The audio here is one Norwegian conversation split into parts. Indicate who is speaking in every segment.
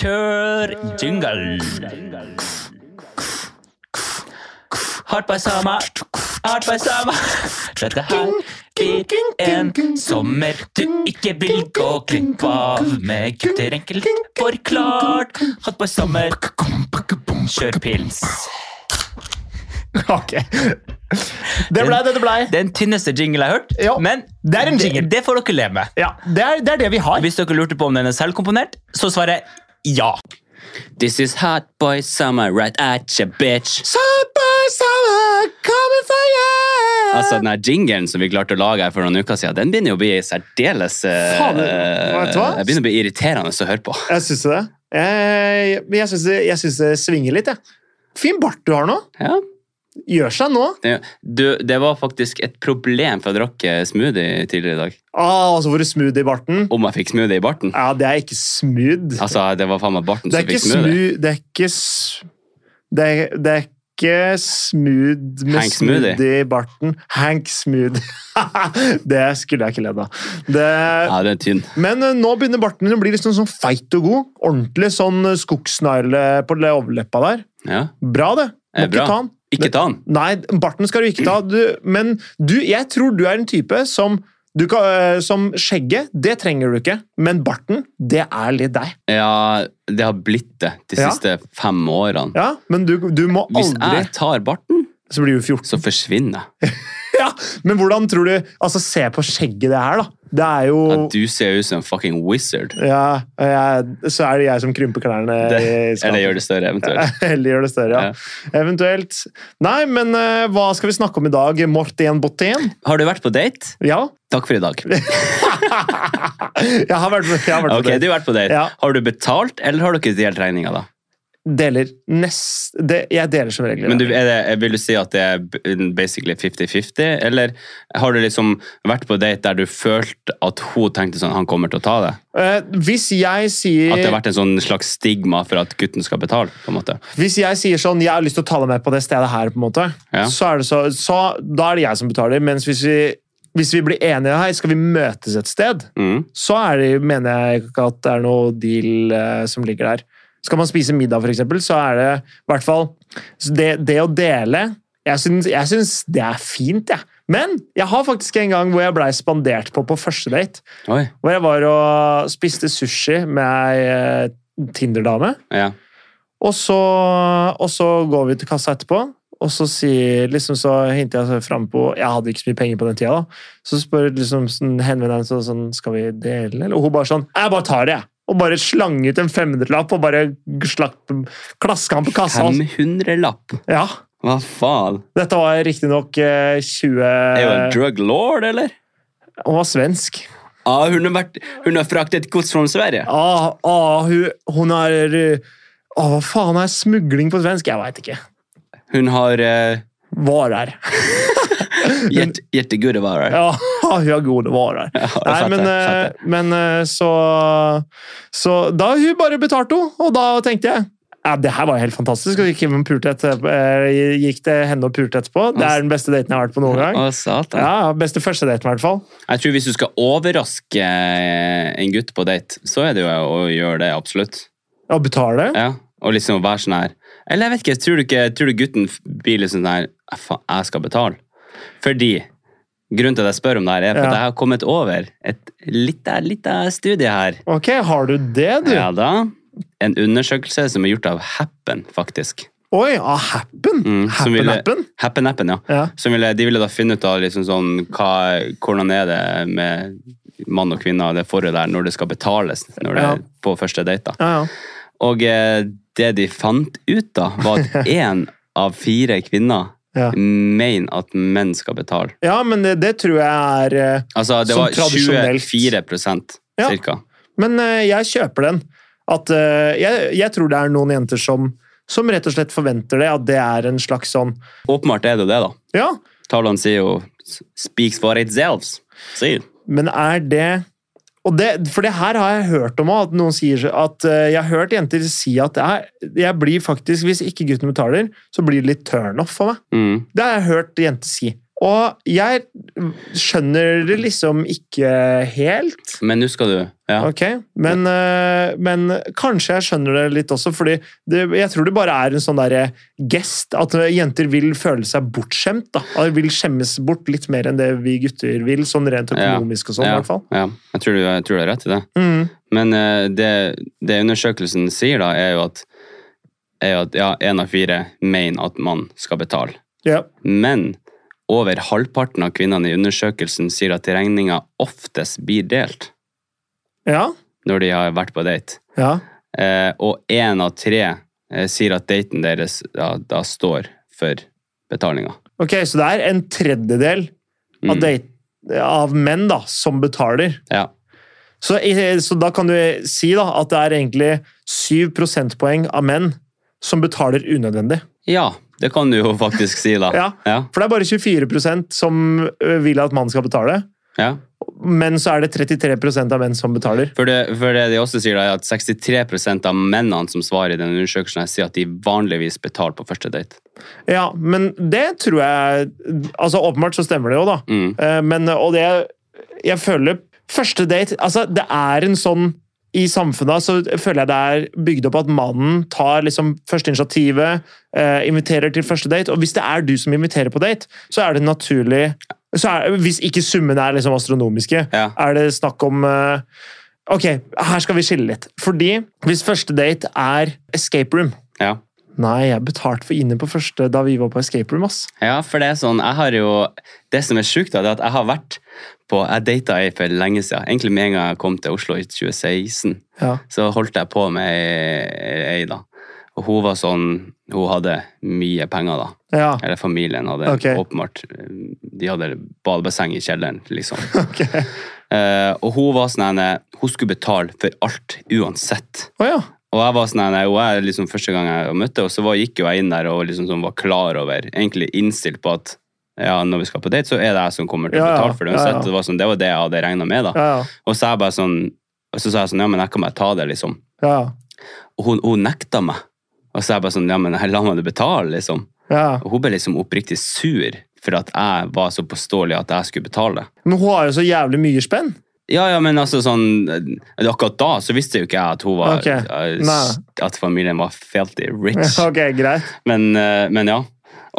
Speaker 1: Kjør jingle! Hardt bersama, hardt bersama. Dette her blir en sommer du ikke vil gå glipp av. Med gutter enkelt forklart. Hardt bersama, kjør pils.
Speaker 2: Ok. Det blei det det blei.
Speaker 1: Den tynneste jingle jeg har hørt,
Speaker 2: Ja.
Speaker 1: men
Speaker 2: Det er en jingle.
Speaker 1: det får dere leve med.
Speaker 2: Ja, det er, det er det vi har.
Speaker 1: Hvis dere lurte på om den er selvkomponert, så svarer jeg ja. This is hot boy summer right at ya, bitch.
Speaker 3: Altså, den her jinglen som vi klarte å lage her for noen uker siden, den begynner jo å bli særdeles eh,
Speaker 4: Faen, vet du hva?
Speaker 3: eh, Den begynner å bli irriterende å høre på.
Speaker 4: Jeg syns det. Jeg, men jeg syns det, jeg synes det svinger litt, jeg. Fin bart du har nå.
Speaker 3: Ja.
Speaker 4: Gjør seg nå.
Speaker 3: Det, du, det var faktisk et problem for å drikke smoothie tidligere i dag.
Speaker 4: Ah, altså hvor smooth i barten.
Speaker 3: Om jeg fikk smoothie i barten.
Speaker 4: Ja, det er ikke smooth.
Speaker 3: Altså, det var faen meg barten som
Speaker 4: Det er ikke
Speaker 3: fikk smoothie.
Speaker 4: smooth Det er ikke s- Det er, det er ikke smooth med
Speaker 3: Hank
Speaker 4: smoothie.
Speaker 3: smoothie.
Speaker 4: i barten. Hank smooth. det skulle jeg ikke ledd av. Det,
Speaker 3: Ja, den er tynn.
Speaker 4: men eh, nå begynner barten din å bli liksom sånn feit og god. Ordentlig sånn eh, skogsnegle på le- overleppa der.
Speaker 3: Ja.
Speaker 4: Bra, det. Må
Speaker 3: Eh, bra.
Speaker 4: ikke ta den.
Speaker 3: Ikke ta den.
Speaker 4: Nei, barten skal du ikke ta. Du, men du, jeg tror du er en type som du kan, eh, som skjegget, det trenger du ikke, men barten, det er litt deg.
Speaker 3: Ja, det har blitt det de
Speaker 4: Ja.
Speaker 3: siste fem årene.
Speaker 4: Ja, Men du, du må
Speaker 3: Hvis
Speaker 4: aldri
Speaker 3: jeg tar barten,
Speaker 4: Så blir du 14.
Speaker 3: så forsvinner jeg.
Speaker 4: Ja, men hvordan tror du Altså, se på skjegget det her, da. Det er jo
Speaker 3: Ja, du ser ut som en fucking wizard.
Speaker 4: ja, jeg, Så er det jeg som krymper klærne.
Speaker 3: Det,
Speaker 4: i skapet.
Speaker 3: eller gjør det større, eventuelt.
Speaker 4: Eller gjør det større, ja. Eventuelt. Nei, men eh, hva skal vi snakke om i dag? Morten Botten?
Speaker 3: Har du vært på date?
Speaker 4: Ja.
Speaker 3: Takk for i dag.
Speaker 4: Jeg har vært med. Jeg har vært med
Speaker 3: Ok,
Speaker 4: på
Speaker 3: du
Speaker 4: det.
Speaker 3: har vært på date.
Speaker 4: Ja.
Speaker 3: Har du betalt, eller har du ikke delt regninga, da?
Speaker 4: Deler nest, det, Jeg deler som regel.
Speaker 3: Men du, er det, vil du si at det er b- basically 50-50, eller har du liksom vært på date der du følte at hun tenkte sånn, han kommer til å ta det?
Speaker 4: Eh, hvis
Speaker 3: At
Speaker 4: jeg
Speaker 3: det
Speaker 4: sier
Speaker 3: har vært en sånn slags stigma for at gutten skal betale, på en måte?
Speaker 4: Hvis jeg sier sånn, jeg har lyst til å ta deg med på det stedet her, på en måte,
Speaker 3: Ja.
Speaker 4: så er det så, så da er det jeg som betaler. Mens hvis vi, hvis vi blir enige her, skal vi møtes et sted,
Speaker 3: Mm.
Speaker 4: så er det, mener jeg ikke at det er noe deal eh, som ligger der. Skal man spise middag, for eksempel, så er det i hvert fall så det, det å dele jeg syns, jeg syns det er fint, jeg. Men jeg har faktisk en gang hvor jeg blei spandert på på første date.
Speaker 3: Oi,
Speaker 4: Hvor jeg var og spiste sushi med ei eh, Tinder-dame.
Speaker 3: ja.
Speaker 4: Og så, og så går vi til kassa etterpå, og så, sier, liksom, så hinter jeg så frem på Jeg hadde ikke så mye penger på den tida, da. Så spør liksom, sånn, henvender han seg sånn Skal vi dele, eller? Og hun bare sånn Jeg bare tar det, jeg. Og bare slang ut en 500-lapp og bare slapp, klaska han på kassa.
Speaker 3: 500-lapp?
Speaker 4: Ja.
Speaker 3: Hva faen?
Speaker 4: Dette var riktignok eh, 20
Speaker 3: Er hun en
Speaker 4: Hun
Speaker 3: drug lord, eller?
Speaker 4: var svensk.
Speaker 3: Ja, hun har, vært, hun har fraktet gods fra Sverige.
Speaker 4: Ah, ah, hun, hun er eh, ah, Hva faen er smugling på svensk? Jeg veit ikke.
Speaker 3: Hun har eh,
Speaker 4: Varer.
Speaker 3: gjett- gjettegode varer.
Speaker 4: Ja, hun har gode varer.
Speaker 3: Ja, jeg
Speaker 4: Nei,
Speaker 3: fatter,
Speaker 4: men,
Speaker 3: fatter.
Speaker 4: eh, men eh, så, så Da hun bare betalte henne, og da tenkte jeg ja, det her var jo helt fantastisk. Og gikk, hjem og pulte etterpå, eh, gikk til henne og pulte etterpå. Det er den beste daten jeg har vært på noen gang.
Speaker 3: Å, satan.
Speaker 4: eh, Ja, Beste første daten, i hvert fall.
Speaker 3: Jeg tror hvis du skal overraske eh, en gutt på date, så er det jo å gjøre det, absolutt.
Speaker 4: Å betale.
Speaker 3: Ja, og liksom være sånn her Eller jeg vet ikke, tror du, ikke, tror du gutten f- blir liksom sånn her "Ah, Faen, jeg skal betale. Fordi Grunnen til at jeg spør om det her, er for
Speaker 4: Ja.
Speaker 3: at jeg har kommet over et lite, lite studie her.
Speaker 4: Ok, har du det, du?
Speaker 3: Ja da. En undersøkelse som er gjort av Happen, faktisk.
Speaker 4: Oi, ah, happen?
Speaker 3: Mm, som ville-
Speaker 4: Happen-appen?
Speaker 3: Happen Appen, ja.
Speaker 4: Ja.
Speaker 3: Som ville, de ville da finne ut av liksom sånn, hva, hvordan er det med mann og kvinne og det forholdet der når det skal betales når det
Speaker 4: Ja.
Speaker 3: på første date. da.
Speaker 4: Ja, ja.
Speaker 3: Og eh, det de fant ut da, var at én av fire kvinner
Speaker 4: Ja.
Speaker 3: mener at menn skal betale.
Speaker 4: ja, men det, det tror jeg er eh,
Speaker 3: Altså, det
Speaker 4: Som
Speaker 3: var
Speaker 4: tradisjonelt.
Speaker 3: 24
Speaker 4: Ja.
Speaker 3: cirka.
Speaker 4: Men eh, jeg kjøper den. At, eh, jeg, jeg tror det er noen jenter som, som rett og slett forventer det. At det er en slags sånn
Speaker 3: Åpenbart er det jo det, da.
Speaker 4: Ja,
Speaker 3: Tallene sier jo speaks for itself. Sier.
Speaker 4: men er det og det, For det her har jeg hørt om også, at noen sier så- at eh, Jeg har hørt jenter si at jeg, jeg blir faktisk, hvis ikke gutten betaler, så blir det litt turnoff for meg.
Speaker 3: Mm.
Speaker 4: Det har jeg hørt jenter si. Og jeg skjønner det liksom ikke helt.
Speaker 3: Men nå skal du Ja.
Speaker 4: Ok, men, øh, men kanskje jeg skjønner det litt også, fordi det, jeg tror det bare er en sånn derre gest at øh, jenter vil føle seg bortskjemt. da. At de vil skjemmes bort litt mer enn det vi gutter vil, sånn rent
Speaker 3: Ja.
Speaker 4: økonomisk og sånn. i
Speaker 3: ja,
Speaker 4: hvert fall.
Speaker 3: ja. Jeg, tror du, jeg tror du har rett i det.
Speaker 4: Mm.
Speaker 3: Men eh, det, det undersøkelsen sier, da, er jo at er jo at ja, én av fire mener at man skal betale.
Speaker 4: Ja.
Speaker 3: Men over halvparten av kvinnene i undersøkelsen sier at regninga oftest blir delt
Speaker 4: Ja.
Speaker 3: når de har vært på date.
Speaker 4: ja.
Speaker 3: Eh, og én av tre eh, sier at daten deres da, da står for betalinga.
Speaker 4: Ok, så det er en tredjedel av,
Speaker 3: Mm.
Speaker 4: date, av menn da, som betaler.
Speaker 3: Ja.
Speaker 4: Så, i- så da kan du si da, at det er egentlig syv prosentpoeng av menn som betaler unødvendig.
Speaker 3: ja, det kan du jo faktisk si, da.
Speaker 4: Ja.
Speaker 3: ja,
Speaker 4: For det er bare 24 som ø, vil at mannen skal betale,
Speaker 3: ja.
Speaker 4: men så er det 33 av menn som betaler.
Speaker 3: For det, for det de også sier, da, er at 63 av mennene som svarer i den undersøkelsen, her, sier at de vanligvis betaler på første date.
Speaker 4: Ja, men det tror jeg Altså, åpenbart så stemmer det jo, da.
Speaker 3: Mm.
Speaker 4: Eh, Men, og det Jeg føler Første date Altså, det er en sånn I samfunnet så føler jeg det er bygd opp at mannen tar liksom første initiativet, eh, inviterer til første date, og hvis det er du som inviterer på date, så er det naturlig så er, Hvis ikke summene er liksom astronomiske,
Speaker 3: Ja.
Speaker 4: er det snakk om eh, Ok, her skal vi skille litt. Fordi hvis første date er escape room
Speaker 3: Ja.
Speaker 4: Nei, jeg betalte for inne på første da vi var på escape room, ass.
Speaker 3: ja, for det er sånn Jeg har jo Det som er sjukt, da, det er at jeg har vært på Jeg data ei for lenge siden. Egentlig med en gang jeg kom til Oslo i 2016.
Speaker 4: Ja.
Speaker 3: så holdt jeg på med ei, ei da. Og hun var sånn, hun hadde mye penger da.
Speaker 4: Ja.
Speaker 3: Eller familien hadde
Speaker 4: Ok.
Speaker 3: åpenbart, eh, de hadde badebasseng i kjelleren, liksom. Eh, og hun var sånn, henne, hun skulle betale for alt, uansett.
Speaker 4: Å ja.
Speaker 3: Og jeg var sånn, henne, og jeg liksom første gang jeg møtte henne, så var, gikk jo jeg inn der og liksom sånn var klar over, egentlig innstilt på at ja, når vi skal på date, så er det jeg som kommer til å
Speaker 4: Ja, ja.
Speaker 3: betale for det
Speaker 4: Ja, ja.
Speaker 3: uansett. Det, var sånn, det var det jeg hadde regnet med da.
Speaker 4: Ja, ja.
Speaker 3: Og så, er jeg bare sånn, og så sa jeg sånn, ja, men jeg kan bare ta det liksom.
Speaker 4: ja.
Speaker 3: Og hun, hun nekta meg. Og så er jeg bare sånn, ja, men la meg det betale, liksom.
Speaker 4: ja.
Speaker 3: Og hun ble liksom oppriktig sur for at jeg var så påståelig at jeg skulle betale.
Speaker 4: Men hun har jo så jævlig mye spenn.
Speaker 3: Ja, ja, men altså sånn eh, Akkurat da så visste jo ikke jeg at hun var
Speaker 4: Ok,
Speaker 3: eh,
Speaker 4: nei.
Speaker 3: At familien var filthy rich.
Speaker 4: Ok, greit.
Speaker 3: Men, eh, men ja.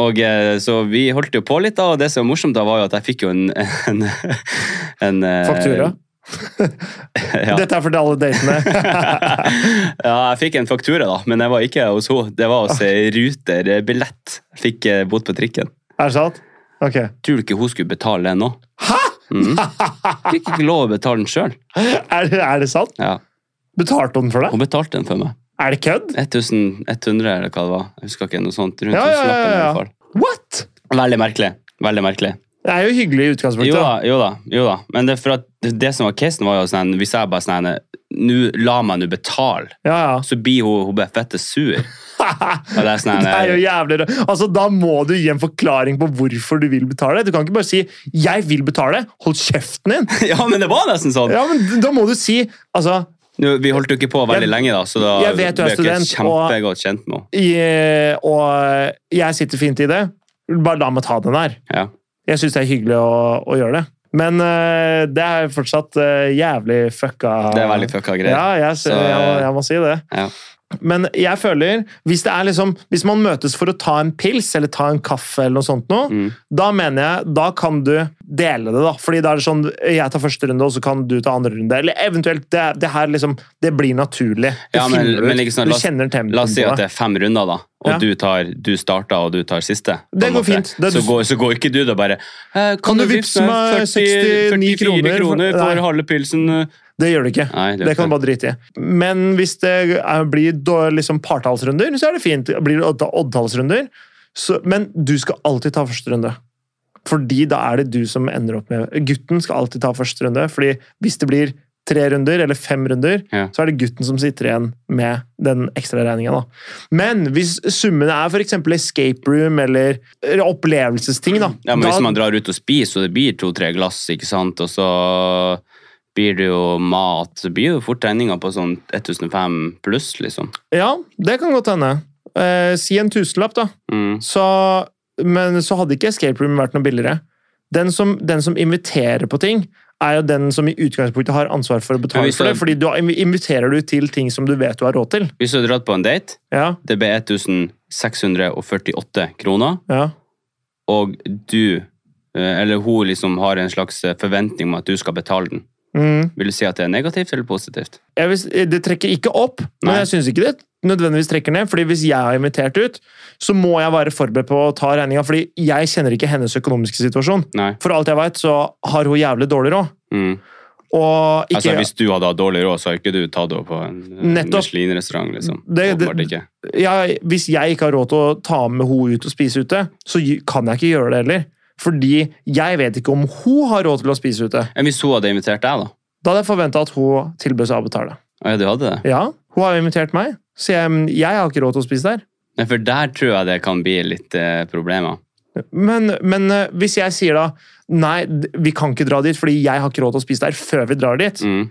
Speaker 3: Og eh, så vi holdt jo på litt, da, og det som var morsomt da, var jo at jeg fikk jo en, en, en eh,
Speaker 4: Faktura.
Speaker 3: ja.
Speaker 4: Dette er for alle datene.
Speaker 3: ja, jeg fikk en faktura, da, men det var ikke hos henne. Det var hos
Speaker 4: Ah.
Speaker 3: eh, Ruter eh, Billett. Fikk eh, bot på trikken.
Speaker 4: Er det sant? Ok.
Speaker 3: Tror du ikke hun skulle betale det nå?
Speaker 4: Hæ?!
Speaker 3: Mhm. Fikk ikke lov å betale den sjøl.
Speaker 4: Er, det- er det sant?
Speaker 3: Ja.
Speaker 4: Betalte hun for det?
Speaker 3: Hun betalte den for meg.
Speaker 4: Er det kødd?
Speaker 3: 1100 eller hva det var. Jeg husker ikke noe sånt. Rundt
Speaker 4: Ja, ja, ja,
Speaker 3: tusenlappen i
Speaker 4: ja.
Speaker 3: hvert fall.
Speaker 4: What?!
Speaker 3: Veldig merkelig. Veldig merkelig.
Speaker 4: Det er jo hyggelig i utgangspunktet.
Speaker 3: Jo da,
Speaker 4: da.
Speaker 3: jo da. jo da. Men det, er for at det som var casen, var jo sånn Hvis jeg bare sånn Nå la meg nå betale,
Speaker 4: Ja, ja.
Speaker 3: så blir hun, hun ble fette sur. Og det er sånn
Speaker 4: Det er jo
Speaker 3: her,
Speaker 4: jævlig rart. Altså, Da må du gi en forklaring på hvorfor du vil betale. Du kan ikke bare si 'jeg vil betale', hold kjeften din!
Speaker 3: Ja, men det var nesten sånn!
Speaker 4: Ja, men Da må du si altså,
Speaker 3: Nå, vi holdt jo ikke på veldig
Speaker 4: Jeg-
Speaker 3: lenge, da, så da
Speaker 4: Jeg vet du er
Speaker 3: ble jeg ikke
Speaker 4: student, og-
Speaker 3: kjempegodt kjent med henne.
Speaker 4: i- Og jeg sitter fint i det. Bare la meg ta den her.
Speaker 3: Ja.
Speaker 4: Jeg syns det er hyggelig å, å gjøre det. Men eh, det er fortsatt eh, jævlig fucka
Speaker 3: Det er veldig fucka
Speaker 4: Ja,
Speaker 3: greier.
Speaker 4: jeg,
Speaker 3: Så, eh,
Speaker 4: jeg, må- jeg må si det.
Speaker 3: Ja.
Speaker 4: Men jeg føler hvis, det er liksom, hvis man møtes for å ta en pils eller ta en kaffe, eller noe sånt noe,
Speaker 3: Mm.
Speaker 4: da mener jeg da kan du dele det. da. Fordi da er det sånn jeg tar første runde, og så kan du ta andre runde. Eller eventuelt det, det her liksom, det blir naturlig. Det
Speaker 3: Ja, men-
Speaker 4: finner du
Speaker 3: men
Speaker 4: ut.
Speaker 3: liksom, la
Speaker 4: du
Speaker 3: oss-
Speaker 4: kjenner tempoet
Speaker 3: La oss si
Speaker 4: på
Speaker 3: at det er fem runder, da, og
Speaker 4: Ja.
Speaker 3: du, tar, du starter og du tar siste. på
Speaker 4: Det
Speaker 3: en
Speaker 4: går
Speaker 3: måte.
Speaker 4: fint. Det er
Speaker 3: så,
Speaker 4: du-
Speaker 3: går, så går ikke du da bare eh, Kan,
Speaker 4: du vippse meg 69
Speaker 3: 44
Speaker 4: kroner
Speaker 3: kroner
Speaker 4: for-
Speaker 3: for
Speaker 4: Nei.
Speaker 3: halve pilsen?
Speaker 4: Det gjør du ikke.
Speaker 3: Nei, det
Speaker 4: det,
Speaker 3: gjør ikke
Speaker 4: kan du bare drite i. Men hvis det er, blir dår- liksom partallsrunder, så er det fint. Blir det odd- oddtallsrunder, så, men du skal alltid ta første runde. Fordi da er det du som ender opp med Gutten skal alltid ta første runde. fordi hvis det blir tre runder eller fem runder,
Speaker 3: Ja.
Speaker 4: så er det gutten som sitter igjen med den ekstraregninga. Men hvis summene er f.eks. escape room eller, eller opplevelsesting, da,
Speaker 3: Ja, men
Speaker 4: da
Speaker 3: Hvis man drar ut og spiser, og det blir to-tre glass, ikke sant, og så blir det jo mat, så blir det jo fort regninga på sånn 1005 pluss, liksom.
Speaker 4: Ja, det kan godt hende. Eh, si en tusenlapp, da.
Speaker 3: Mm.
Speaker 4: Så Men så hadde ikke escape room vært noe billigere. Den som, den som inviterer på ting, er jo den som i utgangspunktet har ansvar for å
Speaker 3: Men
Speaker 4: betale
Speaker 3: hvis
Speaker 4: for det.
Speaker 3: jeg-
Speaker 4: fordi du har- inviterer du til ting som du vet du har råd til.
Speaker 3: Hvis du hadde dratt på en date,
Speaker 4: Ja,
Speaker 3: det ble 1648 kroner,
Speaker 4: ja.
Speaker 3: og du, eh, eller hun liksom har en slags eh, forventning om at du skal betale den.
Speaker 4: Mm.
Speaker 3: Vil du si at det er negativt eller positivt?
Speaker 4: Jeg vil, s- eh, det trekker ikke opp, men
Speaker 3: Nei.
Speaker 4: jeg syns ikke det nødvendigvis trekker ned. fordi hvis jeg har invitert ut, så må jeg være forberedt på å ta regninga. fordi jeg kjenner ikke hennes økonomiske situasjon.
Speaker 3: Nei.
Speaker 4: For alt jeg veit, så har hun jævlig dårlig råd.
Speaker 3: Mm.
Speaker 4: Og ikke,
Speaker 3: Altså, hvis du hadde hatt dårlig råd, så hadde ikke du tatt henne på en eh,
Speaker 4: Nettopp.
Speaker 3: Michelin-restaurant, liksom.
Speaker 4: Det- det-
Speaker 3: Åpenbart ikke.
Speaker 4: jeg, hvis jeg ikke har råd til å ta med henne ut og spise ute, så gi- kan jeg ikke gjøre det heller. Fordi jeg vet ikke om hun har råd til å spise ute.
Speaker 3: Enn hvis hun hadde invitert deg, da?
Speaker 4: Da hadde jeg forventa at hun tilbød seg å betale.
Speaker 3: Å ja, du hadde det?
Speaker 4: Ja, hun har jo invitert meg, så jeg, men jeg har ikke råd til å spise der.
Speaker 3: Nei, for der tror jeg det kan bli litt eh, problemer.
Speaker 4: Men, men eh, hvis jeg sier da Nei, d- vi kan ikke dra dit, fordi jeg har ikke råd til å spise der før vi drar dit.
Speaker 3: Mm.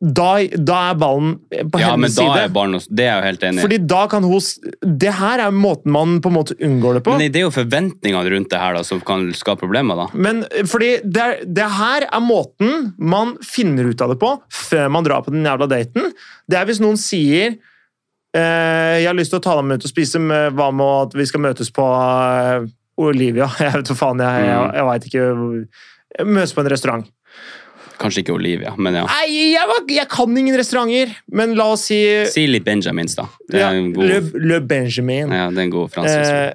Speaker 4: Da, da er ballen på
Speaker 3: Ja, men
Speaker 4: hennes
Speaker 3: da
Speaker 4: side.
Speaker 3: er barn hos Det er jeg jo helt enig i.
Speaker 4: Fordi da kan hun s- Det her er måten man på en måte unngår det på.
Speaker 3: Men det er jo forventningene rundt det her da, som kan skape problemer, da.
Speaker 4: Men eh, fordi det, er- det her er måten man finner ut av det på før man drar på den jævla daten. Det er hvis noen sier eh, 'Jeg har lyst til å ta deg med ut og spise, men hva med at vi skal møtes på eh, Olivia?' Jeg vet hva faen, jeg, jeg,
Speaker 3: Mm.
Speaker 4: jeg veit ikke. hvor- Møtes på en restaurant.
Speaker 3: Kanskje ikke Olivia, men ja.
Speaker 4: Nei, jeg, var- jeg kan ingen restauranter, men la oss si
Speaker 3: Si litt Benjamins, da. Det
Speaker 4: ja,
Speaker 3: er en god,
Speaker 4: Le, Le Benjamin.
Speaker 3: ja, det er Mm. en god fransk restaurant.
Speaker 4: Eh,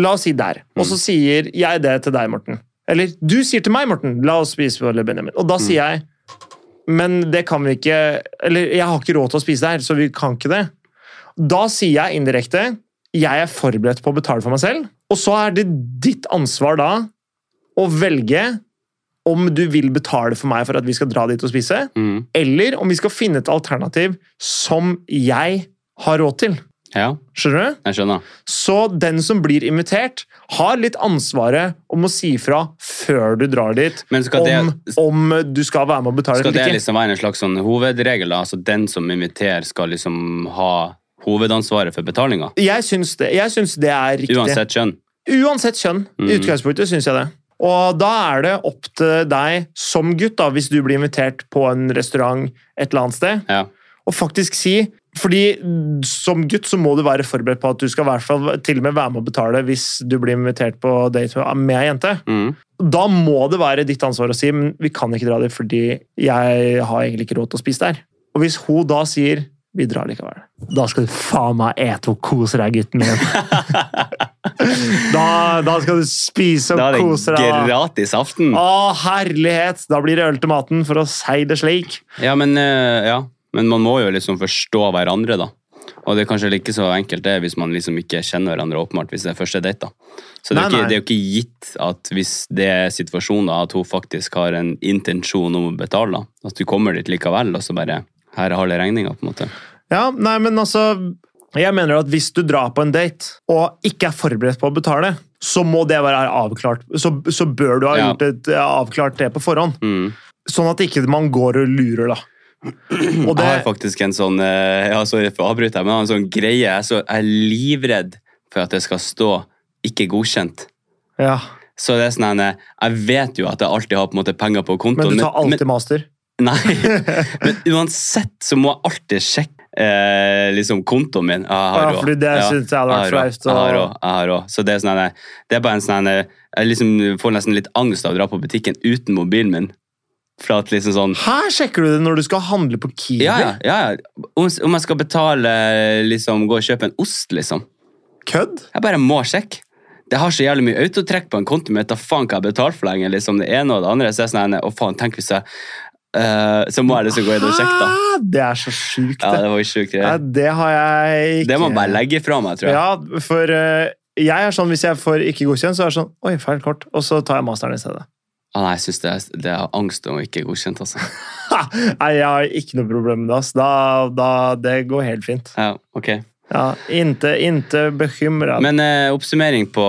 Speaker 4: la oss si der. Og så sier jeg det til deg, Morten. Eller du sier til meg, Morten, la oss spise på Le Benjamin. Og da
Speaker 3: Mm.
Speaker 4: sier jeg men det kan vi ikke Eller jeg har ikke råd til å spise der, så vi kan ikke det. Da sier jeg indirekte jeg er forberedt på å betale for meg selv. Og så er det ditt ansvar da å velge om du vil betale for meg for at vi skal dra dit og spise,
Speaker 3: Mm.
Speaker 4: eller om vi skal finne et alternativ som jeg har råd til.
Speaker 3: Ja,
Speaker 4: Skjønner du?
Speaker 3: jeg skjønner.
Speaker 4: Så den som blir invitert, har litt ansvaret om å si fra før du drar dit,
Speaker 3: Men skal det,
Speaker 4: om, om eh, du skal være med og betale
Speaker 3: skal det
Speaker 4: eller ikke.
Speaker 3: liksom være en slags sånn hovedregel, da? Altså den som inviterer, skal liksom ha hovedansvaret for betalinga?
Speaker 4: Jeg syns det, jeg syns det er riktig.
Speaker 3: liksom- Uansett kjønn.
Speaker 4: Uansett kjønn. I
Speaker 3: Mhm.
Speaker 4: utgangspunktet syns jeg det. Og da er det opp til deg som gutt, da, hvis du blir invitert på en restaurant et eller annet sted,
Speaker 3: Ja.
Speaker 4: og faktisk si fordi Som gutt så må du være forberedt på at du skal i hvert fall til og med være med og betale hvis du blir invitert på date med ei jente.
Speaker 3: Mm.
Speaker 4: da må det være ditt ansvar å si men vi kan ikke dra dit fordi jeg har egentlig ikke råd til å spise der. Og hvis hun da sier vi drar likevel, da skal du faen meg ete og kose deg, gutten min. da, da skal du spise
Speaker 3: Da
Speaker 4: og
Speaker 3: er
Speaker 4: kose
Speaker 3: det
Speaker 4: deg. da. Ah.
Speaker 3: gratis aften.
Speaker 4: Å, herlighet! Da blir det øl til maten, for å si det slik.
Speaker 3: Ja, men, eh, ja. men man må jo liksom forstå hverandre, da. Og det er kanskje ikke så enkelt det hvis man liksom ikke kjenner hverandre åpenbart hvis det er første date. da. Så det er,
Speaker 4: Nei,
Speaker 3: jo ikke,
Speaker 4: nei.
Speaker 3: det er jo ikke gitt at hvis det er situasjonen da, at hun faktisk har en intensjon om å betale, da. At du kommer dit likevel, og så bare her er halve regninga, på en måte.
Speaker 4: Ja, nei, men altså Jeg mener at hvis du drar på en date og ikke er forberedt på å betale, så må det være avklart. Så, så bør du ha
Speaker 3: Ja.
Speaker 4: gjort et, avklart det på forhånd.
Speaker 3: Mm.
Speaker 4: Sånn at ikke man går og lurer, da. Og det,
Speaker 3: Jeg har faktisk en sånn eh, ja, Sorry for å avbryte, deg, men jeg har en sånn greie. Jeg er, så, jeg er livredd for at det skal stå 'ikke godkjent'.
Speaker 4: ja,
Speaker 3: Så det er sånn en, eh, Jeg vet jo at jeg alltid har på en måte penger på
Speaker 4: men
Speaker 3: kontoen.
Speaker 4: du tar alltid master.
Speaker 3: Nei, men uansett så må jeg alltid sjekke eh, liksom kontoen min. Ja, Jeg har
Speaker 4: Ja,
Speaker 3: råd.
Speaker 4: fordi det
Speaker 3: Ja,
Speaker 4: synes jeg hadde vært
Speaker 3: har råd.
Speaker 4: flaut,
Speaker 3: Jeg har
Speaker 4: og-
Speaker 3: råd, jeg har råd. Så det er, sånn, en- det er bare en sånn en, Jeg liksom får nesten litt angst av å dra på butikken uten mobilen min. For at liksom sånn
Speaker 4: Her sjekker du det når du skal handle på Kiwi.
Speaker 3: Ja, ja. ja, ja. Om, om jeg skal betale liksom, Gå og kjøpe en ost, liksom.
Speaker 4: Kødd?
Speaker 3: Jeg bare må sjekke. Det har så jævlig mye autotrekk på en konto mitt. Da faen hva jeg betaler for lenge. liksom Det ene og det andre. Så jeg er sånn, en, å faen, tenk hvis jeg eh, Så må jeg liksom gå inn og sjekke, da.
Speaker 4: Hæ? Ah, Det er så sjukt,
Speaker 3: Ja,
Speaker 4: det.
Speaker 3: det var jo sjukt.
Speaker 4: Nei,
Speaker 3: greie.
Speaker 4: det har jeg ikke
Speaker 3: Det må man bare legge fra meg, tror jeg.
Speaker 4: Ja, for eh, jeg er sånn hvis jeg får ikke godkjent, så er det sånn Oi, feil kort. Og så tar jeg masteren i stedet.
Speaker 3: Ah, nei, jeg synes det, er- det er angst om å ikke godkjent, altså.
Speaker 4: Ha! Nei, jeg har ikke noe problem med det. ass. Da, da, det går helt fint.
Speaker 3: Ja, ok.
Speaker 4: Ja, Inte, inte bekymra.
Speaker 3: Men eh, oppsummering på,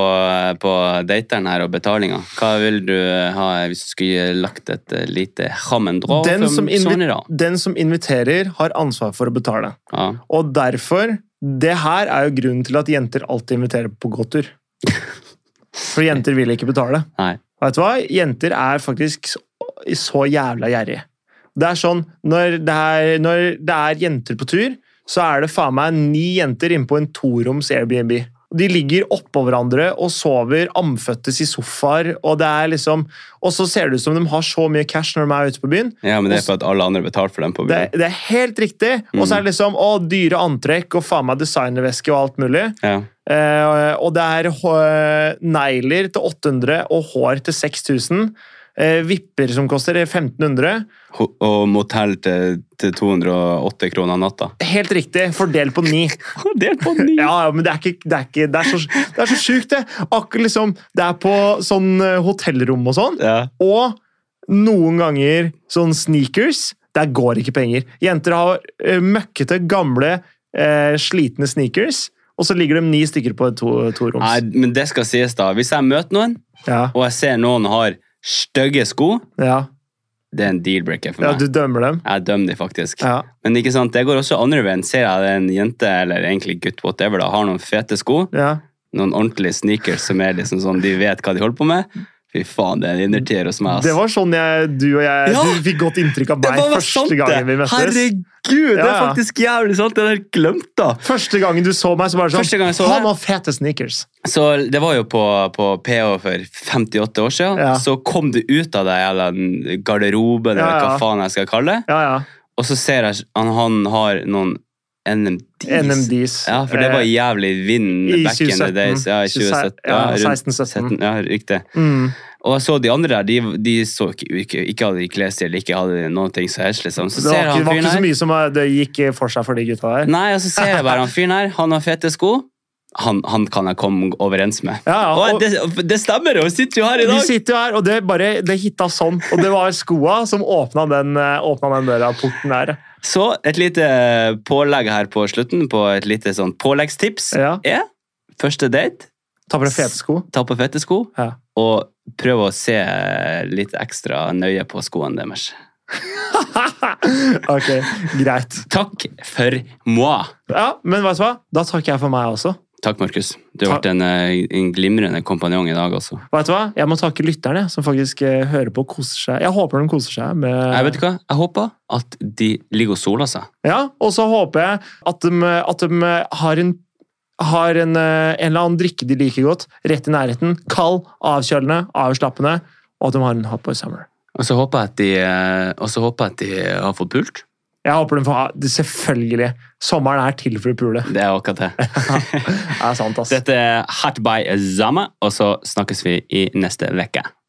Speaker 3: på dateren her og betalinga. Hva vil du ha hvis du skulle lagt et eh, lite chammendrå
Speaker 4: Den som,
Speaker 3: sånn i
Speaker 4: invi
Speaker 3: dag?
Speaker 4: den som inviterer, har ansvar for å betale.
Speaker 3: Ja.
Speaker 4: Og derfor Det her er jo grunnen til at jenter alltid inviterer på gåtur. For jenter vil ikke betale.
Speaker 3: Nei.
Speaker 4: Og Vet du hva? Jenter er faktisk så, så jævla gjerrige. Det er sånn, når det er, når det er jenter på tur, så er det faen meg ni jenter inne på en toroms Airbnb. De ligger oppå hverandre og sover amføttes i sofaer, og det er liksom Og så ser det ut som de har så mye cash når de er ute på byen.
Speaker 3: Ja, men det er for at alle andre betaler for den på
Speaker 4: Det,
Speaker 3: byen.
Speaker 4: det er helt riktig. Og så er det liksom å, dyre antrekk og faen meg designerveske og alt mulig.
Speaker 3: Ja.
Speaker 4: Eh, og det er hå- negler til 800 og hår til 6000. Eh, vipper som koster 1500.
Speaker 3: Ho- Og motell til, til 208 kroner natta.
Speaker 4: Helt riktig, fordelt på ni.
Speaker 3: Delt på ni!
Speaker 4: Ja, ja, men det er ikke Det er, ikke, det er så, det er så sjukt, det. Akkurat liksom, Det er på sånn eh, hotellrom og sånn.
Speaker 3: Ja.
Speaker 4: Og noen ganger sånn sneakers. Der går ikke penger. Jenter har eh, møkkete, gamle, eh, slitne sneakers, og så ligger de ni stykker på et to-
Speaker 3: Nei,
Speaker 4: toroms.
Speaker 3: men det skal sies, da. Hvis jeg møter noen,
Speaker 4: Ja,
Speaker 3: og jeg ser noen har stygge sko,
Speaker 4: ja.
Speaker 3: det er en deal-breaker for
Speaker 4: ja,
Speaker 3: meg.
Speaker 4: du dømmer dem.
Speaker 3: Jeg dømmer de faktisk.
Speaker 4: Ja.
Speaker 3: Men ikke sant, det går også andre veien. Ser jeg det er en jente, eller egentlig gutt, whatever, da, har noen fete sko,
Speaker 4: Ja.
Speaker 3: noen ordentlige sneakers som er liksom sånn, de vet hva de holder på med Fy faen, det er en innertier hos meg, ass.
Speaker 4: Det var sånn jeg, du og jeg
Speaker 3: Ja!
Speaker 4: Du fikk godt inntrykk av
Speaker 3: Det
Speaker 4: meg
Speaker 3: var
Speaker 4: første gangen vi møttes.
Speaker 3: Herregud, det
Speaker 4: Ja,
Speaker 3: er
Speaker 4: ja.
Speaker 3: faktisk jævlig sant! Det har jeg glemt, da!
Speaker 4: Første gangen du så meg, så bare
Speaker 3: Første
Speaker 4: sånn
Speaker 3: gang jeg så
Speaker 4: Han
Speaker 3: deg.
Speaker 4: har fete sneakers.
Speaker 3: Så det var jo på, på PH for 58 år siden.
Speaker 4: Ja.
Speaker 3: Så kom du ut av deg, eller garderoben,
Speaker 4: Ja,
Speaker 3: eller
Speaker 4: ja.
Speaker 3: hva faen jeg skal kalle det.
Speaker 4: Ja, ja.
Speaker 3: Og så ser jeg han, han har noen NMDs.
Speaker 4: NMDs.
Speaker 3: Ja, for det var jævlig vind
Speaker 4: I
Speaker 3: back in the
Speaker 4: 2017.
Speaker 3: days. Ja, i 2017.
Speaker 4: Ja,
Speaker 3: rundt
Speaker 4: 16-17.
Speaker 3: 17, Ja, riktig.
Speaker 4: Mm.
Speaker 3: Og jeg så de andre der, de, de så ikke, ikke, ikke hadde de klesstil, ikke hadde noen ting så helst, liksom. Så
Speaker 4: Det var
Speaker 3: ser jeg
Speaker 4: ikke,
Speaker 3: han
Speaker 4: det var
Speaker 3: fyren
Speaker 4: ikke så
Speaker 3: her. Mm.
Speaker 4: mye som eh, det gikk eh, for seg for de gutta der.
Speaker 3: Nei, og så ser jeg bare han fyren her, han har fete sko. Han, han kan jeg komme overens med.
Speaker 4: Ja, ja,
Speaker 3: og,
Speaker 4: og-
Speaker 3: det, det stemmer jo, vi sitter jo her i
Speaker 4: Vi
Speaker 3: dag!
Speaker 4: sitter jo her, og det bare, det hitta sånn. Og det var skoa som åpna den, eh, åpna den døra, porten der.
Speaker 3: Så et lite eh, pålegg her på slutten, på et lite sånn påleggstips,
Speaker 4: Ja.
Speaker 3: er første date,
Speaker 4: Ta på deg fete sko.
Speaker 3: ta på fete sko,
Speaker 4: Ja.
Speaker 3: og prøv å se litt ekstra nøye på skoene deres.
Speaker 4: Ok, greit.
Speaker 3: Takk for moi!
Speaker 4: Ja, Men vet du hva? da takker jeg for meg også.
Speaker 3: Takk, Markus. Du har vært en, eh, en glimrende kompanjong i dag også.
Speaker 4: Vet du hva? Jeg må takke lytterne som faktisk eh, hører på og koser seg. Jeg håper de koser seg med
Speaker 3: Jeg vet du hva? Jeg håper at de ligger og soler seg.
Speaker 4: Ja, Og så håper jeg at de, at de har, en, har en, eh, en eller annen drikke de liker godt, rett i nærheten. Kald, avkjølende, avslappende. Og at de har en hot boy summer.
Speaker 3: Og så håper jeg at de, eh, og så håper jeg at de har fått pult.
Speaker 4: Jeg håper de får ha det Selvfølgelig. Sommeren er til for å pule.
Speaker 3: Det er akkurat det.
Speaker 4: Det er sant, ass.
Speaker 3: Dette er Hart by Zama, og så snakkes vi i neste uke.